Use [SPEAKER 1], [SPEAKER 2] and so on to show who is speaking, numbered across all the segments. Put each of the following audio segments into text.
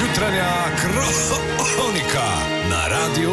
[SPEAKER 1] jutranja kronika na Radiu 1.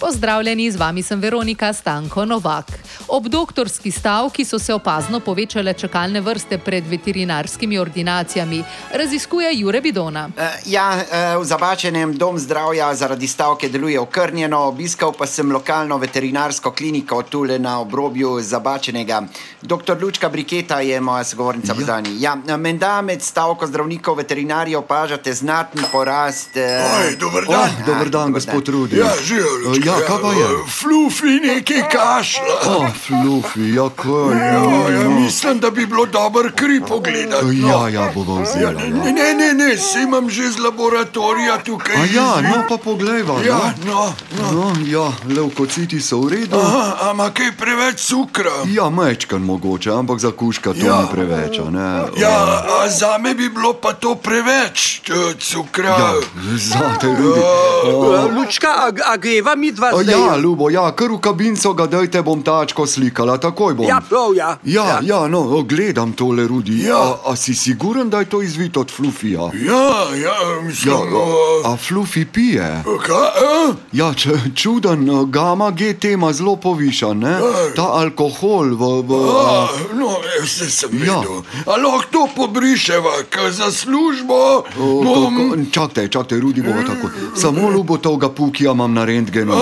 [SPEAKER 2] Pozdravljeni, z vami sem Veronika Stanko Novak. Ob doktorski stavki so se opazno povečale čakalne vrste pred veterinarskimi ordinacijami, raziskuje Jure Bidona.
[SPEAKER 3] Eh, Ja, eh, v zabačenem dom zdravja zaradi stavke deluje okrnjeno, obiskal pa sem lokalno veterinarsko kliniko tule na obrobju zabačenega. Doktor Lučka Briketa je moja sogovornica v Zani. Ja, eh, menda med stavko zdravnikov veterinarjev opažate znaten porast. eh,
[SPEAKER 4] Oj, Ah, dober dan.
[SPEAKER 3] Oj,
[SPEAKER 5] Ja, Dober dan, gospod Rudi.
[SPEAKER 4] Ja, eh, živijo.
[SPEAKER 5] Ja, kaj pa je?
[SPEAKER 4] Flufi neki kašla.
[SPEAKER 5] O, flufi, ja, kaj
[SPEAKER 4] Ja,
[SPEAKER 5] je?
[SPEAKER 4] ja, mislim, da bi bilo dobro kri pogledati. no.
[SPEAKER 5] Ja, ja, bova vzela. Ja.
[SPEAKER 4] Ne, ne, ne, se imam že z laboratorija tukaj.
[SPEAKER 5] A ja,
[SPEAKER 4] izvil.
[SPEAKER 5] no pa poglejva.
[SPEAKER 4] Ja, no, no.
[SPEAKER 5] No, ja, levkociti so v redu.
[SPEAKER 4] Aha, ampak kaj preveč sukra.
[SPEAKER 5] Ja, mečkan mogoče, ampak za kuška to
[SPEAKER 4] Ja.
[SPEAKER 5] ni preveč, a ne?
[SPEAKER 4] Ja, a za me bi bilo pa to preveč eh, cukra.
[SPEAKER 5] Ja, Zate, Rudi.
[SPEAKER 4] Ja.
[SPEAKER 6] Lučka, a, a greva mi dva
[SPEAKER 5] A
[SPEAKER 6] zdaj?
[SPEAKER 5] Ja, ljubo, ja, kar v kabinco ga dajte, bom tačko slikala, takoj bom.
[SPEAKER 6] ja, prav, ja.
[SPEAKER 5] Ja, ja, no, o, gledam tole, Rudi.
[SPEAKER 4] Ja.
[SPEAKER 5] A, a si siguren, da je to izvit od flufija?
[SPEAKER 4] Ja, ja, mislim.
[SPEAKER 5] Ja,
[SPEAKER 4] eh,
[SPEAKER 5] a flufi pije?
[SPEAKER 4] Kaj? eh?
[SPEAKER 5] Ja, če, čuden, eh, gama G tema zelo povišan, ne? Ta alkohol v. v a,
[SPEAKER 4] A, No, se sem
[SPEAKER 5] Ja.
[SPEAKER 4] videl. Ja. Ali lahko to pobriševa, ker za službo
[SPEAKER 5] o,
[SPEAKER 4] bom...
[SPEAKER 5] kako- Čakajte, čakajte, Rudi bo tako. Samo ljubo tega pukija imam na rentgenu.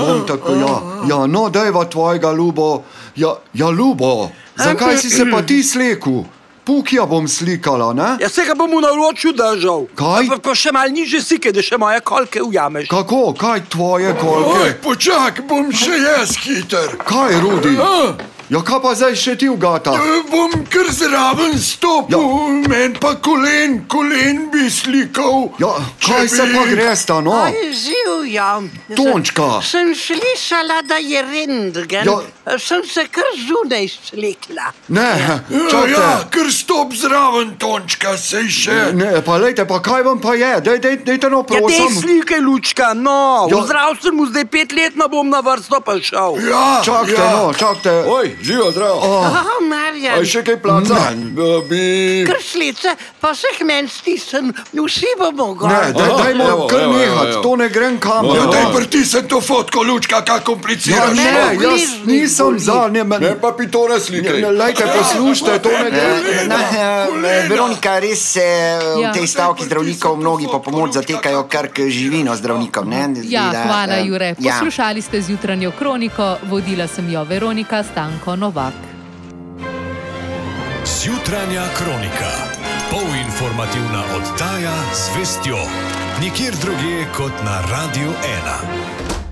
[SPEAKER 5] Bom tako, ja. Ja, no, dajva tvojega ljubo. Ja, ja ljubo, zakaj si se pa ti slekel? Pukija bom slikala, ne?
[SPEAKER 6] Ja, se ga bom v naročju držal.
[SPEAKER 5] Kaj?
[SPEAKER 6] Pa, pa še mal niže sike, da še moje kolke ujameš.
[SPEAKER 5] Kako, kaj tvoje
[SPEAKER 4] Oj,
[SPEAKER 5] kolke?
[SPEAKER 4] počak, bom še jaz hiter.
[SPEAKER 5] Kaj, Rudi?
[SPEAKER 4] Ja,
[SPEAKER 5] Ja, kaj pa zdaj še ti ugata?
[SPEAKER 4] eh, bom kar zraven stopil,
[SPEAKER 5] Ja.
[SPEAKER 4] ja. men pa kolen, kolen bi slikal.
[SPEAKER 5] Ja,
[SPEAKER 4] če
[SPEAKER 5] kaj se
[SPEAKER 4] bi-
[SPEAKER 5] pa gresta, no?
[SPEAKER 7] Živja.
[SPEAKER 5] Tončka.
[SPEAKER 7] ja. Sem slišala, da je rentgen.
[SPEAKER 5] Ja.
[SPEAKER 7] Ja. Sem se kar zunaj slekla.
[SPEAKER 5] Ne,
[SPEAKER 4] Ja,
[SPEAKER 5] čakajte.
[SPEAKER 4] ja, kar stop zraven, Tončka, sej še.
[SPEAKER 5] Ne, pa lejte, pa kaj vam pa je, dej, dej, dejte no,
[SPEAKER 6] Ja, te
[SPEAKER 5] prosim.
[SPEAKER 6] slike, Lučka, no,
[SPEAKER 5] Ja.
[SPEAKER 6] ja. v zdravstvu zdaj pet let
[SPEAKER 7] no
[SPEAKER 6] ne bom na vrsto pa šel.
[SPEAKER 4] Ja,
[SPEAKER 5] Čakajte,
[SPEAKER 4] ja.
[SPEAKER 5] no, čakajte.
[SPEAKER 4] Oj, živo, zdravo.
[SPEAKER 7] Aha, Marjan,
[SPEAKER 4] še kaj plača? Bi...
[SPEAKER 7] krslice, pa se k meni stisnem, vsi bomo
[SPEAKER 5] Ne,
[SPEAKER 7] gori.
[SPEAKER 5] dej,
[SPEAKER 4] Aha,
[SPEAKER 5] dajmo
[SPEAKER 4] evo,
[SPEAKER 5] kar
[SPEAKER 4] evo, evo,
[SPEAKER 5] nehat,
[SPEAKER 4] evo.
[SPEAKER 5] to ne grem kamor.
[SPEAKER 4] Ja,
[SPEAKER 5] Ja,
[SPEAKER 4] daj pritisni to fotko, lučka, kako
[SPEAKER 5] Ja,
[SPEAKER 4] kompliciraš.
[SPEAKER 7] ne,
[SPEAKER 5] ne, jaz
[SPEAKER 7] bližnji
[SPEAKER 5] nisem
[SPEAKER 7] boli.
[SPEAKER 5] za, ne, men,
[SPEAKER 4] pa bi to
[SPEAKER 5] ne,
[SPEAKER 4] razlike.
[SPEAKER 5] ne, lejte, poslušajte, to ne gre.
[SPEAKER 3] Eh, Na, eh, Veronika, res se eh,
[SPEAKER 2] Ja.
[SPEAKER 3] v tej stavki zdravnikov mnogi po pomoč zatekajo kar k živino zdravnikom. Ne? Zdi,
[SPEAKER 2] Ja,
[SPEAKER 3] da,
[SPEAKER 2] hvala,
[SPEAKER 3] eh,
[SPEAKER 2] Jure. Poslušali ste z jutranjo kroniko, vodila sem jo Veronika Stanko Novak.
[SPEAKER 1] Jutranja kronika. Polinformativna oddaja z vestjo. Nikjer drugje kot na Radiu 1.